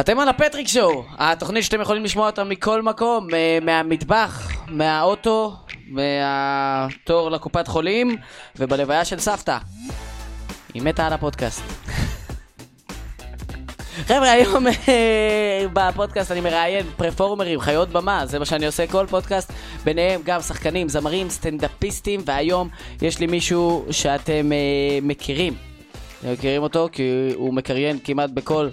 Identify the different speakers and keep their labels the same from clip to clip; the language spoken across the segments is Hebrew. Speaker 1: אתם על הפטריק שואו, התוכנית שאתם יכולים לשמוע אותה מכל מקום, אה, מהמטבח, מהאוטו, מהתור לקופת חולים, ובלוויה של סבתא. היא מתה על הפודקאסט. חבר'ה, היום אה, בפודקאסט אני מראיין פרפורמרים, חיות במה, זה מה שאני עושה כל פודקאסט, ביניהם גם שחקנים, זמרים, סטנדאפיסטים, והיום יש לי מישהו שאתם אה, מכירים. אתם מכירים אותו כי הוא מקריין כמעט בכל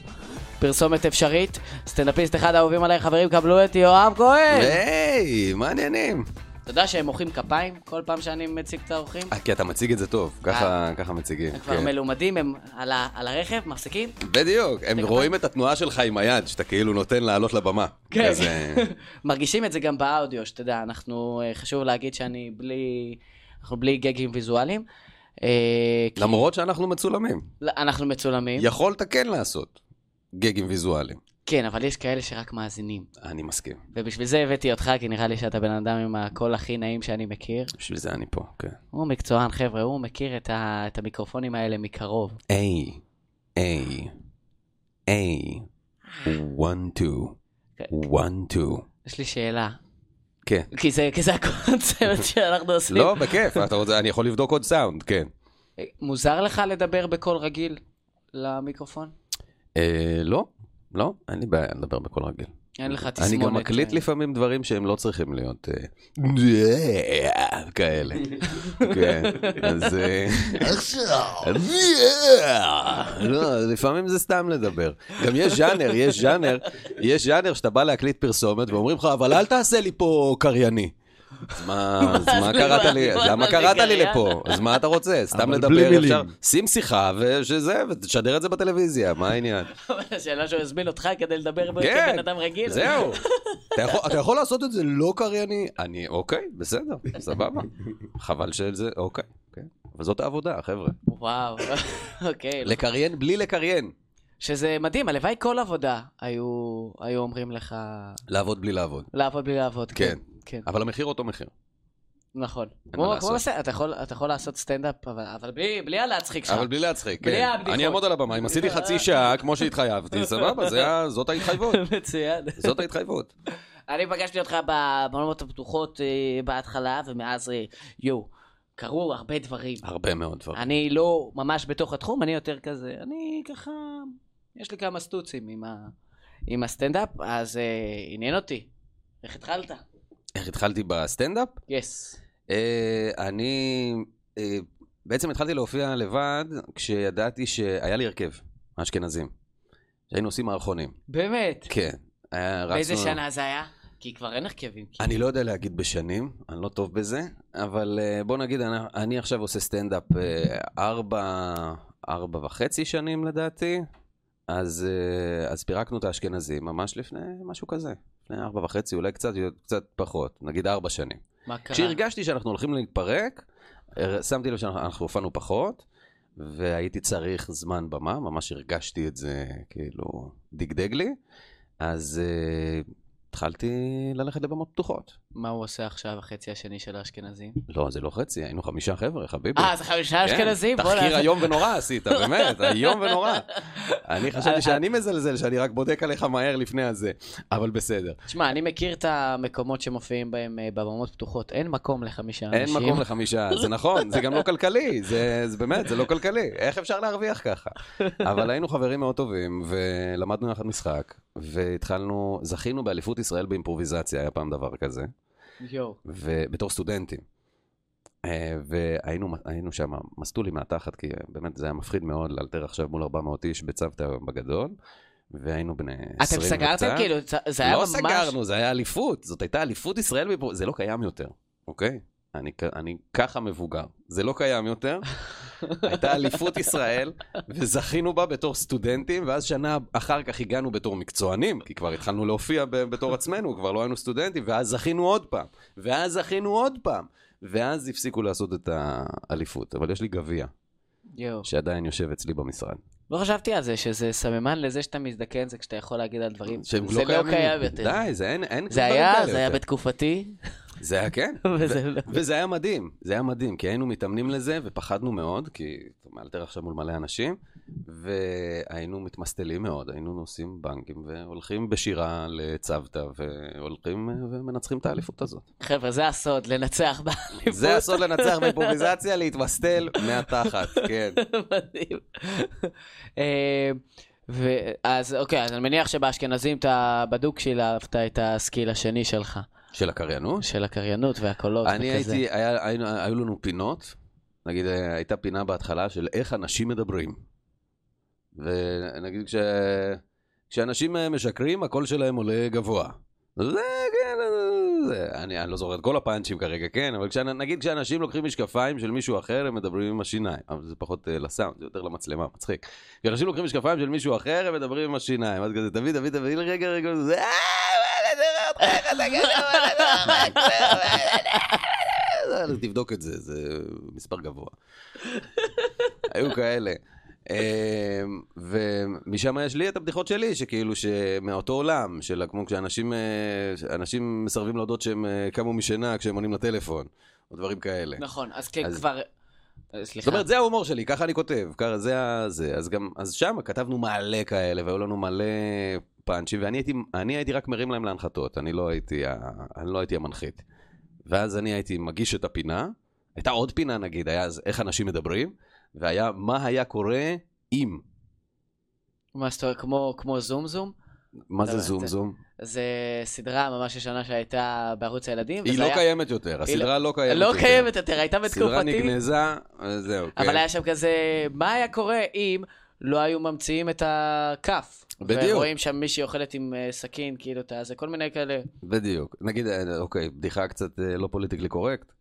Speaker 1: פרסומת אפשרית. סטנדאפיסט אחד האהובים עליי, חברים, קבלו את יואב כהן!
Speaker 2: היי, מה העניינים?
Speaker 1: אתה יודע שהם מוחאים כפיים כל פעם שאני מציג את האורחים?
Speaker 2: אה, כי אתה מציג את זה טוב, ככה ככה מציגים.
Speaker 1: הם כבר
Speaker 2: כן.
Speaker 1: מלומדים, הם על ה- על הרכב, מפסיקים?
Speaker 2: בדיוק, הם רואים את התנועה שלך עם היד, שאתה כאילו נותן לעלות לבמה. אה,
Speaker 1: כן.
Speaker 2: כזה.
Speaker 1: מרגישים את זה גם באודיו, שאתה יודע, אנחנו, אה, חשוב להגיד שאני בלי, אנחנו בלי גגים ויזואליים. אה, כי
Speaker 2: למרות שאנחנו מצולמים.
Speaker 1: לא, אנחנו מצולמים.
Speaker 2: יכולת כן לעשות גגים ויזואליים.
Speaker 1: כן, אבל יש כאלה שרק מאזינים.
Speaker 2: אני מסכים.
Speaker 1: ובשביל זה הבאתי אותך, כי נראה לי שאתה בן אדם עם הקול הכי נעים שאני מכיר.
Speaker 2: בשביל זה אני פה, כן.
Speaker 1: הוא מקצוען, חבר'ה, הוא מכיר את, ה... את המיקרופונים האלה מקרוב.
Speaker 2: איי, איי, איי, one, two, one, two.
Speaker 1: יש לי שאלה,
Speaker 2: כן.
Speaker 1: כי זה, כי זה הקונספט שאנחנו עושים.
Speaker 2: לא, בכיף, אתה רוצה, אני יכול לבדוק עוד סאונד, כן.
Speaker 1: אה, מוזר לך לדבר בקול רגיל למיקרופון?
Speaker 2: אה, לא, לא, אין לי בעיה לדבר בקול רגיל.
Speaker 1: אין לך
Speaker 2: אני
Speaker 1: תסמונת.
Speaker 2: גם מקליט
Speaker 1: אה,
Speaker 2: לפעמים דברים שהם לא צריכים להיות אה, כאלה. כן, אז... אה, לא, לפעמים זה סתם לדבר. גם יש ז'אנר, יש ז'אנר, יש ז'אנר שאתה בא להקליט פרסומת ואומרים לך, אבל אל תעשה לי פה קרייני. אז מה אז מה קראת לי, אז למה קראת לי לפה? אז מה אתה רוצה? סתם
Speaker 3: אבל
Speaker 2: לדבר
Speaker 3: בלי מילים.
Speaker 2: אפשר? שים שיחה ושזה, ותשדר את זה בטלוויזיה, מה העניין?
Speaker 1: אבל השאלה שהוא הזמין אותך כדי לדבר בו
Speaker 2: כן,
Speaker 1: כבן אדם רגיל.
Speaker 2: זהו. אתה יכול- אתה יכול לעשות את זה לא קרייני? אני, אוקיי, בסדר, סבבה. חבל שזה, אוקיי. כן. אבל זאת העבודה, חבר'ה.
Speaker 1: כאילו. וואו, אוקיי.
Speaker 2: לקריין בלי לקריין.
Speaker 1: שזה מדהים, הלוואי כל עבודה היו היו אומרים לך
Speaker 2: לעבוד בלי לעבוד.
Speaker 1: לעבוד בלי לעבוד.
Speaker 2: כן.
Speaker 1: כן,
Speaker 2: אבל המחיר אותו מחיר.
Speaker 1: נכון.
Speaker 2: מה
Speaker 1: כמו-
Speaker 2: לעשות.
Speaker 1: כמו בסדר, אתה יכול- אתה יכול לעשות סטנדאפ, אבל- אבל בלי- בלי הלהצחיק שלך.
Speaker 2: אבל בלי להצחיק,
Speaker 1: בלי
Speaker 2: כן.
Speaker 1: הבדיחות.
Speaker 2: אני אעמוד על הבמה, אם עשיתי חצי שעה, כמו שהתחייבתי, סבבה, זה ה- זאת ההתחייבות.
Speaker 1: מצוין.
Speaker 2: זאת ההתחייבות.
Speaker 1: אני פגשתי אותך במעונות הפתוחות אה, בהתחלה, ומאז, אה, יואו, קרו הרבה דברים.
Speaker 2: הרבה מאוד דברים.
Speaker 1: אני לא ממש בתוך התחום, אני יותר כזה, אני ככה, יש לי כמה סטוצים עם, ה... עם הסטנדאפ, אז uh, עניין אותי. איך התחלת?
Speaker 2: איך התחלתי בסטנדאפ?
Speaker 1: יס. Yes.
Speaker 2: אה, אני אה, בעצם התחלתי להופיע לבד כשידעתי שהיה לי הרכב, האשכנזים. שהיינו עושים מערכונים.
Speaker 1: באמת?
Speaker 2: כן. היה-
Speaker 1: באיזה
Speaker 2: רצנו-
Speaker 1: שנה זה היה? כי כבר אין הרכבים. כי...
Speaker 2: אני לא יודע להגיד בשנים, אני לא טוב בזה, אבל אה, בוא נגיד, אני, אני עכשיו עושה סטנדאפ אה, ארבע, ארבע וחצי שנים לדעתי, אז, אה, אז פירקנו את האשכנזים ממש לפני משהו כזה. לפני ארבע וחצי, אולי קצת, קצת פחות, נגיד ארבע שנים.
Speaker 1: מה קרה?
Speaker 2: כשהרגשתי שאנחנו הולכים להתפרק, הר- שמתי לב שאנחנו הופענו פחות, והייתי צריך זמן במה, ממש הרגשתי את זה כאילו דגדג לי, אז uh, התחלתי ללכת לבמות פתוחות.
Speaker 1: מה הוא עושה עכשיו, החצי השני של האשכנזים?
Speaker 2: לא, זה לא חצי, היינו חמישה חבר'ה, חביבי.
Speaker 1: אה, זה חמישה
Speaker 2: כן,
Speaker 1: אשכנזים? בוא
Speaker 2: תחקיר
Speaker 1: נעשה-
Speaker 2: איום ונורא עשית, באמת, איום ונורא. אני
Speaker 1: אה,
Speaker 2: חשבתי שאני מזלזל, שאני רק בודק עליך מהר לפני הזה, אבל בסדר.
Speaker 1: תשמע, אני מכיר את המקומות שמופיעים בהם אה, בבמות פתוחות. אין מקום לחמישה אנשים.
Speaker 2: אין מקום לחמישה, זה נכון, זה גם לא כלכלי, זה, זה באמת, זה לא כלכלי, איך אפשר להרוויח ככה? אבל היינו חברים מאוד טובים, ולמדנו יחד משחק, והתחלנו, זכינו באליפות ישראל באימפרוביזציה, היה פעם דבר כזה,
Speaker 1: יואו.
Speaker 2: ובתור סטודנטים. אה, והיינו היינו שם מסטולים מהתחת, כי באמת זה היה מפחיד מאוד לאלתר עכשיו מול 400 איש בצוותא בגדול, והיינו בני 20 וקצת.
Speaker 1: אתם סגרתם? כאילו, זה היה
Speaker 2: לא
Speaker 1: ממש...
Speaker 2: סגרנו, זה היה אליפות. זאת הייתה אליפות ישראל, בפרו- זה לא קיים יותר, אוקיי? אני, כ- אני ככה מבוגר, זה לא קיים יותר. הייתה אליפות ישראל, וזכינו בה בתור סטודנטים, ואז שנה אחר כך הגענו בתור מקצוענים, כי כבר התחלנו להופיע ב- בתור עצמנו, כבר לא היינו סטודנטים, ואז זכינו עוד פעם, ואז זכינו עוד פעם, ואז הפסיקו לעשות את האליפות. אבל יש לי גביע,
Speaker 1: יואו.
Speaker 2: שעדיין יושב אצלי במשרד.
Speaker 1: לא חשבתי על זה, שזה סממן לזה שאתה מזדקן, זה כשאתה יכול להגיד על דברים.
Speaker 2: שהם
Speaker 1: זה לא
Speaker 2: קיימים.
Speaker 1: קיים יותר.
Speaker 2: די, זה אין, אין
Speaker 1: זה
Speaker 2: דברים
Speaker 1: היה,
Speaker 2: כאלה
Speaker 1: זה היה
Speaker 2: יותר.
Speaker 1: בתקופתי,
Speaker 2: זה היה, כן.
Speaker 1: וזה לא.
Speaker 2: וזה היה מדהים, זה היה מדהים, כי היינו מתאמנים לזה ופחדנו מאוד, כי אתה מאלתר עכשיו מול מלא אנשים, והיינו מתמסטלים מאוד, היינו נוסעים בנקים והולכים בשירה לצוותא והולכים אה, ומנצחים את האליפות הזאת.
Speaker 1: חבר'ה, זה הסוד, לנצח באליפות.
Speaker 2: זה הסוד לנצח באימפרוביזציה, להתמסטל מהתחת, כן.
Speaker 1: מדהים. אה, ו- אז אוקיי, אז אני מניח שבאשכנזים אתה בדוק שילבת את הסקיל השני שלך,
Speaker 2: של הקריינות?
Speaker 1: של הקריינות והקולות וכזה.
Speaker 2: אני הייתי, היה- היינו- היו לנו פינות, נגיד אה, הייתה פינה בהתחלה של איך אנשים מדברים. ונגיד כש... כשאנשים אה, משקרים, הקול שלהם עולה גבוה. זה, כן, אה, זה, אני, אני לא זוכר את כל הפאנצ'ים כרגע, כן, אבל כשאנ- נגיד כשאנשים לוקחים משקפיים של מישהו אחר, הם מדברים עם השיניים. אבל זה פחות אה, לסאונד, זה יותר למצלמה, מצחיק. כשאנשים לוקחים משקפיים של מישהו אחר, הם מדברים עם השיניים. אז כזה, תביא, תביא, תביא, רגע, רגע, זה, אה, וואלה, נראה אותך, איך אתה גדול, וואלה, נראה אותך, וואלה, אז תבדוק את זה, זה מספר גבוה. היו כאלה. אמ, ומשם יש לי את הבדיחות שלי, שכאילו שמאותו עולם, של כמו כשאנשים אה, אנשים מסרבים להודות שהם אה, קמו משינה כשהם עונים לטלפון, או דברים כאלה.
Speaker 1: נכון, אז כן,
Speaker 2: אז-
Speaker 1: כבר... אה,
Speaker 2: זאת
Speaker 1: סליחה.
Speaker 2: אומרת, זה ההומור שלי, ככה אני כותב, ככה זה ה... זה. אז גם, אז שם כתבנו מלא כאלה, והיו לנו מלא פאנצ'ים, ואני הייתי, אני הייתי רק מרים להם להנחתות, אני לא הייתי, ה, אני לא הייתי המנחית. ואז אני הייתי מגיש את הפינה, הייתה עוד פינה נגיד, היה אז איך אנשים מדברים, והיה מה היה קורה אם.
Speaker 1: מה זאת אומרת, כמו- כמו זום זום?
Speaker 2: מה זה
Speaker 1: אה,
Speaker 2: זום
Speaker 1: זה-
Speaker 2: זום?
Speaker 1: זה סדרה ממש ישנה שהייתה בערוץ הילדים.
Speaker 2: היא
Speaker 1: וזה
Speaker 2: לא
Speaker 1: היה-
Speaker 2: קיימת יותר,
Speaker 1: היא
Speaker 2: הסדרה לא קיימת
Speaker 1: לא
Speaker 2: יותר.
Speaker 1: קיימת יותר, הייתה
Speaker 2: הסדרה
Speaker 1: בתקופתי.
Speaker 2: נגנזה, אה, זהו, כן.
Speaker 1: אבל היה שם כזה, מה היה קורה אם לא היו ממציאים את הכף?
Speaker 2: בדיוק.
Speaker 1: ורואים שם מישהי אוכלת עם אה, סכין, כאילו, אתה- זה כל מיני כאלה.
Speaker 2: בדיוק. נגיד, אה, אוקיי, בדיחה קצת אה, לא פוליטיקלי קורקט.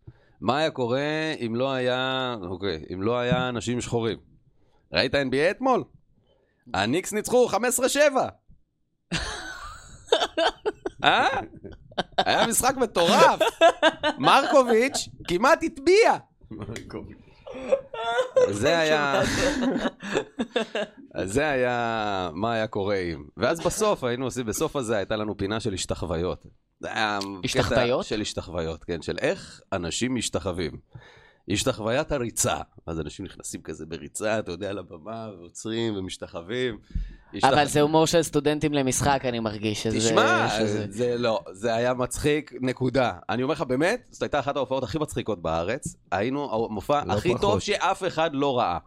Speaker 2: מה היה קורה אם לא היה, אוקיי, אם לא היה אנשים שחורים? ראית NBA אתמול? הניקס ניצחו 15-7. אה? היה משחק מטורף. מרקוביץ' כמעט הטביע. זה היה... אז זה היה מה היה קורה אם. ואז בסוף היינו עושים, בסוף הזה הייתה לנו פינה של השתחוויות. זה היה קטע
Speaker 1: השתחוויות?
Speaker 2: של השתחוויות, כן, של איך אנשים משתחווים. השתחוויית הריצה, אז אנשים נכנסים כזה בריצה, אתה יודע, לבמה, ועוצרים ומשתחווים.
Speaker 1: אבל זה הומור של סטודנטים למשחק, אני מרגיש. שזה-
Speaker 2: תשמע,
Speaker 1: שזה-
Speaker 2: זה לא, זה היה מצחיק, נקודה. אני אומר לך, באמת, זאת הייתה אחת ההופעות הכי מצחיקות בארץ. היינו המופע
Speaker 3: לא
Speaker 2: הכי טוב
Speaker 3: פחות.
Speaker 2: שאף אחד לא ראה.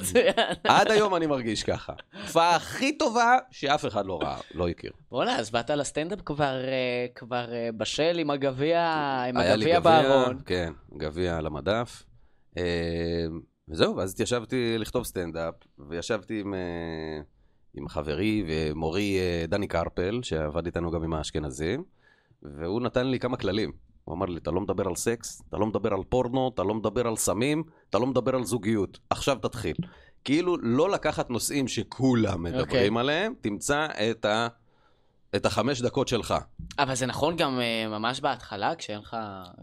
Speaker 1: מצוין.
Speaker 2: עד היום אני מרגיש ככה. ההופעה הכי טובה שאף אחד לא ראה, לא הכיר.
Speaker 1: וואלה, אז באת לסטנדאפ כבר, אה, כבר אה, בשל עם הגביע, עם
Speaker 2: היה לי
Speaker 1: הגביע בארון.
Speaker 2: כן, גביע על המדף. אה, וזהו, ואז התיישבתי לכתוב סטנדאפ, וישבתי עם, אה, עם חברי ומורי אה, דני קרפל, שעבד איתנו גם עם האשכנזים, והוא נתן לי כמה כללים. הוא אמר לי, אתה לא מדבר על סקס, אתה לא מדבר על פורנו, אתה לא מדבר על סמים, אתה לא מדבר על זוגיות. עכשיו תתחיל. כאילו, לא לקחת נושאים שכולם מדברים
Speaker 1: אוקיי.
Speaker 2: עליהם, תמצא את, ה, את החמש דקות שלך.
Speaker 1: אבל זה נכון גם אה, ממש בהתחלה, כשאין לך...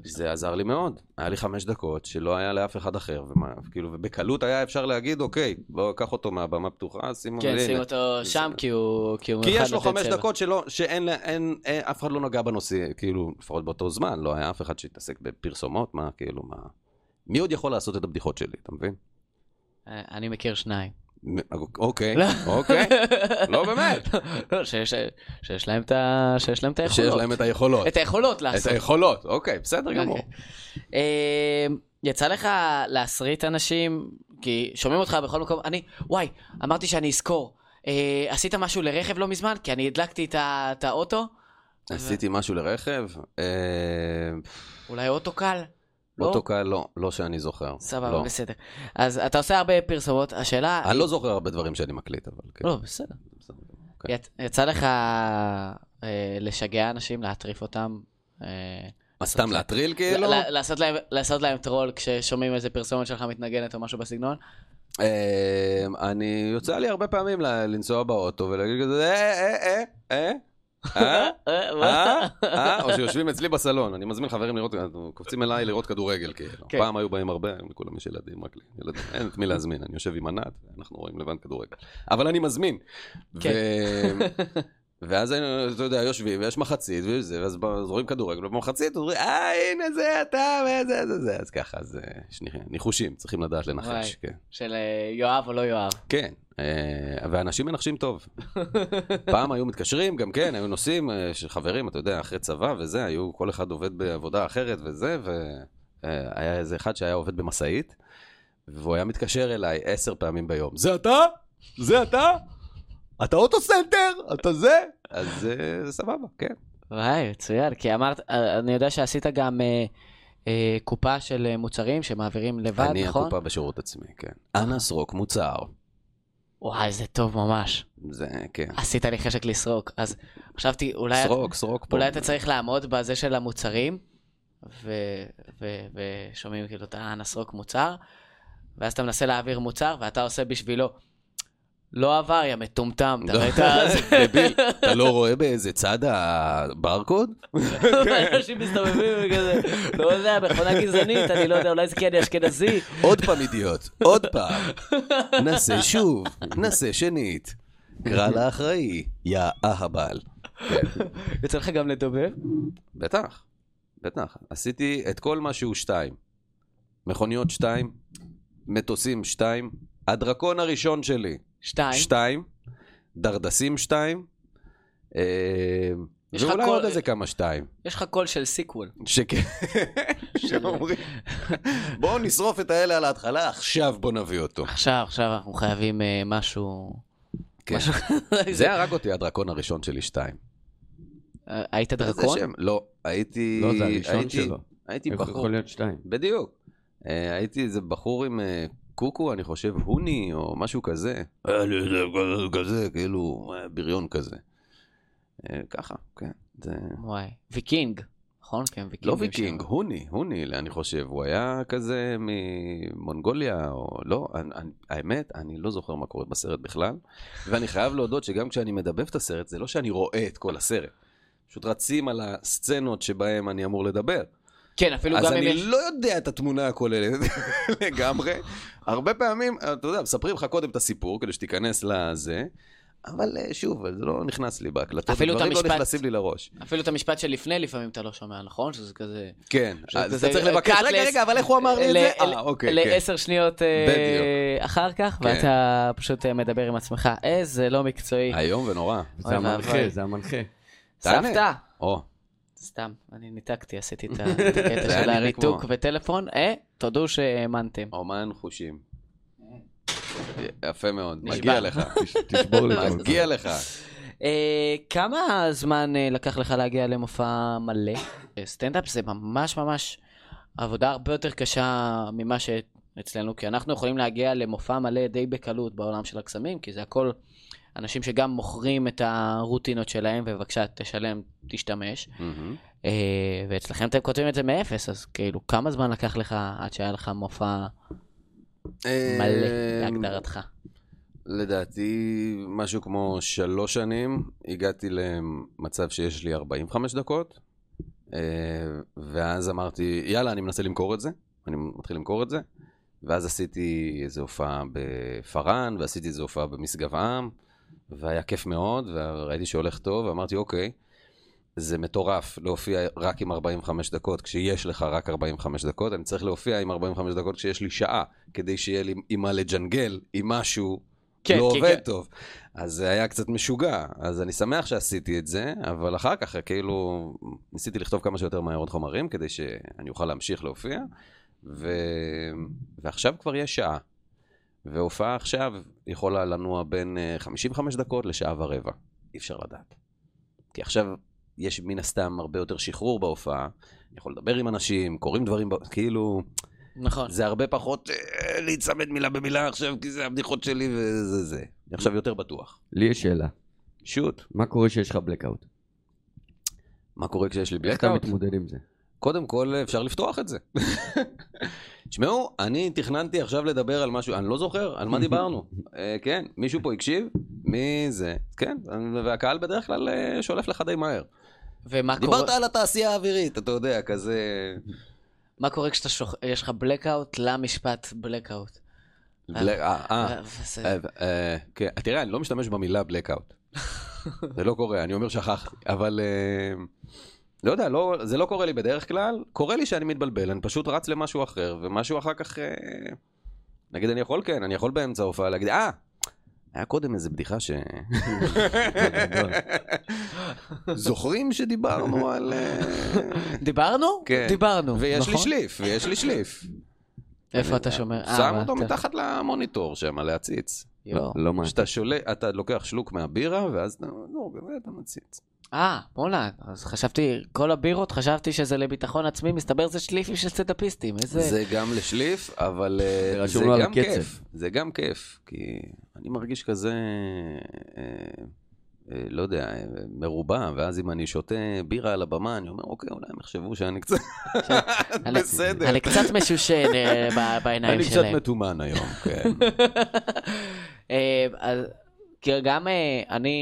Speaker 2: זה עזר לי מאוד. היה לי חמש דקות שלא היה לאף אחד אחר, ומה, כאילו, ובקלות היה אפשר להגיד, אוקיי, בוא, קח אותו מהבמה הפתוחה, שים
Speaker 1: כן,
Speaker 2: הנה."
Speaker 1: שים אותו שם, כי הוא... הוא
Speaker 2: כי
Speaker 1: אחד
Speaker 2: יש לו
Speaker 1: נותן
Speaker 2: חמש
Speaker 1: צבע.
Speaker 2: דקות שלא, שאין, לה- אין, אין, אף אחד לא נגע בנושא, כאילו, לפחות באותו זמן, לא היה אף אחד שהתעסק בפרסומות, מה, כאילו, מה... מי עוד יכול לעשות את הבדיחות שלי, אתה מבין?
Speaker 1: אה, אני מכיר שניים.
Speaker 2: מ- אוקיי, אוקיי, לא באמת.
Speaker 1: לא, שיש, שיש להם את ה... שיש להם את היכולות.
Speaker 2: שיש להם את היכולות.
Speaker 1: את היכולות
Speaker 2: את
Speaker 1: לעשות.
Speaker 2: היכולות, אוקיי, בסדר גמור.
Speaker 1: אוקיי. אה, יצא לך להסריט אנשים, כי שומעים אותך בכל מקום, אני, וואי, אמרתי שאני אזכור. אה, עשית משהו לרכב לא מזמן? כי אני הדלקתי את, ה, את האוטו,
Speaker 2: עשיתי משהו לרכב, אה,
Speaker 1: אולי אוטו קל? לא?
Speaker 2: אוטו קל, לא, לא שאני זוכר.
Speaker 1: סבבה,
Speaker 2: לא.
Speaker 1: בסדר. אז אתה עושה הרבה פרסומות, השאלה...
Speaker 2: אני לא זוכר הרבה דברים שאני מקליט, אבל כן.
Speaker 1: לא, בסדר.
Speaker 2: בסדר. אוקיי.
Speaker 1: י, יצא לך אה, לשגע אנשים, להטריף אותם? אה,
Speaker 2: אז סתם להטריל כאילו?
Speaker 1: ל- ל- לעשות להם- לעשות להם טרול כששומעים איזה פרסומת שלך מתנגנת או משהו בסגנון?
Speaker 2: אה, אני, יוצא לי הרבה פעמים ל- לנסוע באוטו ולהגיד כזה, אה, אה, אה, אה, אה,
Speaker 1: אה, מה?
Speaker 2: אה, אה, או שיושבים אצלי בסלון, אני מזמין חברים לראות, אנחנו קופצים אליי לראות כדורגל כאילו.
Speaker 1: כן.
Speaker 2: פעם היו באים הרבה, היום לכולם יש ילדים, רק לי, ילדים, אין את מי להזמין, אני יושב עם ענת, אנחנו רואים לבד כדורגל. אבל אני מזמין.
Speaker 1: כן.
Speaker 2: ו- ואז היינו, אתה יודע, יושבים, ויש מחצית, וזה, ואז ב- זורים כדורגל, ובמחצית אומרים, אה, הנה זה אתה, וזה, זה, זה, אז ככה, אז אה, שנייה, ניחושים, צריכים לדעת לנחש, כן.
Speaker 1: של אה, יואב או לא יואב.
Speaker 2: כן, אה, ואנשים מנחשים טוב. פעם היו מתקשרים, גם כן, היו נוסעים, אה, של חברים, אתה יודע, אחרי צבא וזה, היו, כל אחד עובד בעבודה אחרת וזה, והיה איזה אחד שהיה עובד במשאית, והוא היה מתקשר אליי עשר פעמים ביום. זה אתה? זה אתה? אתה אוטוסנטר? אתה זה? אז אה, זה סבבה, כן.
Speaker 1: וואי, מצוין, כי אמרת, אה, אני יודע שעשית גם אה, אה, קופה של אה, מוצרים שמעבירים לבד,
Speaker 2: אני
Speaker 1: נכון?
Speaker 2: הקופה בשירות עצמי, כן. אנה סרוק מוצר.
Speaker 1: וואי, זה טוב ממש.
Speaker 2: זה, כן.
Speaker 1: עשית לי חשק לסרוק, אז חשבתי, אולי...
Speaker 2: סרוק, סרוק פה.
Speaker 1: אולי אתה צריך לעמוד בזה של המוצרים, ו- ו- ושומעים כאילו את הנסרוק מוצר, ואז אתה מנסה להעביר מוצר, ואתה עושה בשבילו. לא עבר, יא מטומטם, אתה ראית?
Speaker 2: לא. דביל, אתה לא רואה באיזה צד הברקוד? כן.
Speaker 1: אנשים מסתובבים וכזה, לא יודע, מכונה גזענית, אני לא יודע, אולי זה כי אני אשכנזי.
Speaker 2: עוד פעם אידיוט, עוד פעם. נעשה שוב, נעשה שנית. קרא לאחראי, יא אהבל. כן,
Speaker 1: יוצא לך גם לדובב?
Speaker 2: בטח, בטח. עשיתי את כל מה שהוא שתיים. מכוניות שתיים, מטוסים שתיים, הדרקון הראשון שלי
Speaker 1: שתיים.
Speaker 2: שתיים, דרדסים שתיים, אה,
Speaker 1: יש לך
Speaker 2: ואולי
Speaker 1: כל-
Speaker 2: עוד איזה כמה שתיים.
Speaker 1: יש לך קול של סיקוול.
Speaker 2: שכן, שאומרים, בואו נשרוף את האלה על ההתחלה, עכשיו בואו נביא אותו.
Speaker 1: עכשיו, עכשיו אנחנו חייבים אה, משהו...
Speaker 2: כן.
Speaker 1: משהו-
Speaker 2: זה הרג אותי הדרקון הראשון שלי, שתיים.
Speaker 1: אה, היית
Speaker 2: איזה
Speaker 1: דרקון?
Speaker 2: שם? לא, הייתי...
Speaker 3: לא, זה הראשון
Speaker 2: הייתי-
Speaker 3: שלו.
Speaker 2: הייתי בחור.
Speaker 3: יכול להיות שתיים.
Speaker 2: בדיוק. אה, הייתי איזה בחור עם אה, קוקו, אני חושב, הוני או משהו כזה. היה לי איזה כזה, כאילו, אה, בריון כזה. אה, ככה, כן. זה-
Speaker 1: וואי. ויקינג, נכון? כן, ויקינג.
Speaker 2: לא ויקינג, הוני, הוני, אני חושב, הוא היה כזה ממונגוליה, או לא, אני, אני, האמת, אני לא זוכר מה קורה בסרט בכלל, ואני חייב להודות שגם כשאני מדבב את הסרט, זה לא שאני רואה את כל הסרט. פשוט רצים על הסצנות שבהן אני אמור לדבר.
Speaker 1: כן, אפילו
Speaker 2: אז
Speaker 1: גם אם
Speaker 2: אני
Speaker 1: יש...
Speaker 2: לא יודע את התמונה הכוללת לגמרי. הרבה פעמים, אתה יודע, מספרים לך קודם את הסיפור כדי שתיכנס לזה, אבל אה, שוב, זה לא נכנס לי בהקלטות,
Speaker 1: אפילו את
Speaker 2: דברים לא
Speaker 1: המשפט-
Speaker 2: נכנסים לי לראש.
Speaker 1: אפילו את המשפט שלפני לפעמים אתה לא שומע, נכון? שזה כזה...
Speaker 2: כן,
Speaker 1: שזה
Speaker 2: אז אתה
Speaker 1: כזה
Speaker 2: צריך לבקש,
Speaker 1: cut
Speaker 2: רגע,
Speaker 1: less-
Speaker 2: רגע, אבל איך הוא אמר לי את
Speaker 1: אה, ל-
Speaker 2: זה?
Speaker 1: ל-
Speaker 2: אה, אוקיי, כן.
Speaker 1: לעשר שניות אה,
Speaker 2: בדיוק.
Speaker 1: אחר כך,
Speaker 2: כן.
Speaker 1: ואתה פשוט אה, מדבר עם עצמך, איזה לא מקצועי.
Speaker 2: איום ונורא.
Speaker 1: אוי
Speaker 3: זה
Speaker 1: ואבוי.
Speaker 3: המנחה, זה המנחה.
Speaker 2: תענה.
Speaker 1: סבתא!
Speaker 2: או, סתם.
Speaker 1: סתם, אני ניתקתי, עשיתי את ה- את הקטע
Speaker 2: זה היה
Speaker 1: של
Speaker 2: נראה
Speaker 1: הניתוק
Speaker 2: כמו-
Speaker 1: וטלפון. אה, תודו שהאמנתם.
Speaker 2: אומן חושים. יפה מאוד,
Speaker 1: נשבע.
Speaker 2: מגיע לך.
Speaker 3: תש- תשבור
Speaker 2: נכון,
Speaker 3: לי את המנחה.
Speaker 2: מגיע לך.
Speaker 1: אה, כמה זמן אה, לקח לך להגיע למופע מלא? אה, סטנדאפ זה ממש ממש עבודה הרבה יותר קשה ממה שאצלנו, כי אנחנו יכולים להגיע למופע מלא די בקלות בעולם של הקסמים, כי זה הכל אנשים שגם מוכרים את הרוטינות שלהם, ובבקשה תשלם, תשתמש.
Speaker 2: מהמם.
Speaker 1: אה, ואצלכם אתם כותבים את זה מאפס, אז כאילו, כמה זמן לקח לך עד שהיה לך מופע מלא,
Speaker 3: אמ,
Speaker 2: אה,
Speaker 1: להגדרתך?
Speaker 2: לדעתי, משהו כמו שלוש שנים, הגעתי למצב שיש לי 45 דקות, אה, ואז אמרתי, יאללה, אני מנסה למכור את זה, אני מתחיל למכור את זה, ואז עשיתי איזו הופעה בפארן, ועשיתי איזו הופעה במשגב עם, והיה כיף מאוד, וראיתי שהולך טוב, ואמרתי, אוקיי, זה מטורף להופיע רק עם 45 דקות, כשיש לך רק 45 דקות, אני צריך להופיע עם 45 דקות כשיש לי שעה, כדי שיהיה לי עם מה לג'נגל, עם משהו.
Speaker 1: כן,
Speaker 2: כן, לא
Speaker 1: כי-
Speaker 2: עובד
Speaker 1: כן.
Speaker 2: טוב. אז זה היה קצת משוגע, אז אני שמח שעשיתי את זה, אבל אחר כך כאילו ניסיתי לכתוב כמה שיותר מהר עוד חומרים כדי שאני אוכל להמשיך להופיע, ו... ועכשיו כבר יש שעה. והופעה עכשיו יכולה לנוע בין אה, 55 דקות לשעה ורבע. אי אפשר לדעת. כי עכשיו יש מן הסתם הרבה יותר שחרור בהופעה, אני יכול לדבר עם אנשים, קוראים דברים, ב- כאילו,
Speaker 1: נכון.
Speaker 2: זה הרבה פחות אה, להיצמד מילה במילה עכשיו, כי זה הבדיחות שלי וזה זה. אני עכשיו יותר בטוח.
Speaker 3: לי יש שאלה.
Speaker 2: שוט,
Speaker 3: מה קורה שיש לך בלקאוט?
Speaker 2: מה קורה כשיש לי
Speaker 3: איך אתה
Speaker 2: בלקאוט?
Speaker 3: מתמודד עם זה?
Speaker 2: קודם כל, אה, אפשר לפתוח את זה. תשמעו, אני תכננתי עכשיו לדבר על משהו, אני לא זוכר על מה דיברנו. אה, כן, מישהו פה הקשיב? מי זה? כן, והקהל בדרך כלל אה, שולף לך די מהר.
Speaker 1: ומה קורה-
Speaker 2: דיברת על התעשייה האווירית, אתה יודע, כזה...
Speaker 1: מה קורה כשאתה שוכ... יש לך blackout למשפט blackout?
Speaker 2: בל- אה, אה.
Speaker 1: וזה-
Speaker 2: אה, אה, כן, תראה, אני לא משתמש במילה blackout. זה לא קורה, אני אומר שכחתי, אבל אה, לא יודע, לא, זה לא קורה לי בדרך כלל, קורה לי שאני מתבלבל, אני פשוט רץ למשהו אחר, ומשהו אחר כך... אה, נגיד אני יכול, כן, אני יכול באמצע ההופעה להגיד, אה, היה קודם איזה בדיחה ש... זוכרים שדיברנו על... אה,
Speaker 1: דיברנו?
Speaker 2: כן.
Speaker 1: דיברנו.
Speaker 2: ויש לי
Speaker 1: נכון?
Speaker 2: שליף, ויש לי שליף.
Speaker 1: איפה אתה שומר? אה,
Speaker 2: שם
Speaker 1: מה,
Speaker 2: אותו
Speaker 1: אתה-
Speaker 2: מתחת למוניטור שם, להציץ.
Speaker 1: יואו.
Speaker 3: לא מה.
Speaker 2: שאתה שולה, אתה לוקח שלוק מהבירה, ואז אתה, לא, באמת, אתה מציץ.
Speaker 1: אה, בואנה, אז חשבתי, כל הבירות, חשבתי שזה לביטחון עצמי, מסתבר זה שליפים של סטנדאפיסטים, איזה...
Speaker 2: זה גם לשליף, אבל אה,
Speaker 3: זה רשום
Speaker 2: זה
Speaker 3: לו על
Speaker 2: גם
Speaker 3: הקצף.
Speaker 2: כיף. זה גם כיף, כי אני מרגיש כזה, אה, אה, לא יודע, אה, מרובע, ואז אם אני שותה בירה על הבמה, אני אומר, אוקיי, אולי הם יחשבו שאני קצת
Speaker 1: אני-
Speaker 2: בסדר.
Speaker 1: אני קצת משושן אה, ב- בעיניים
Speaker 2: אני קצת
Speaker 1: שלהם.
Speaker 2: מתומן היום, כן.
Speaker 1: אה, אז- כי גם אה, אני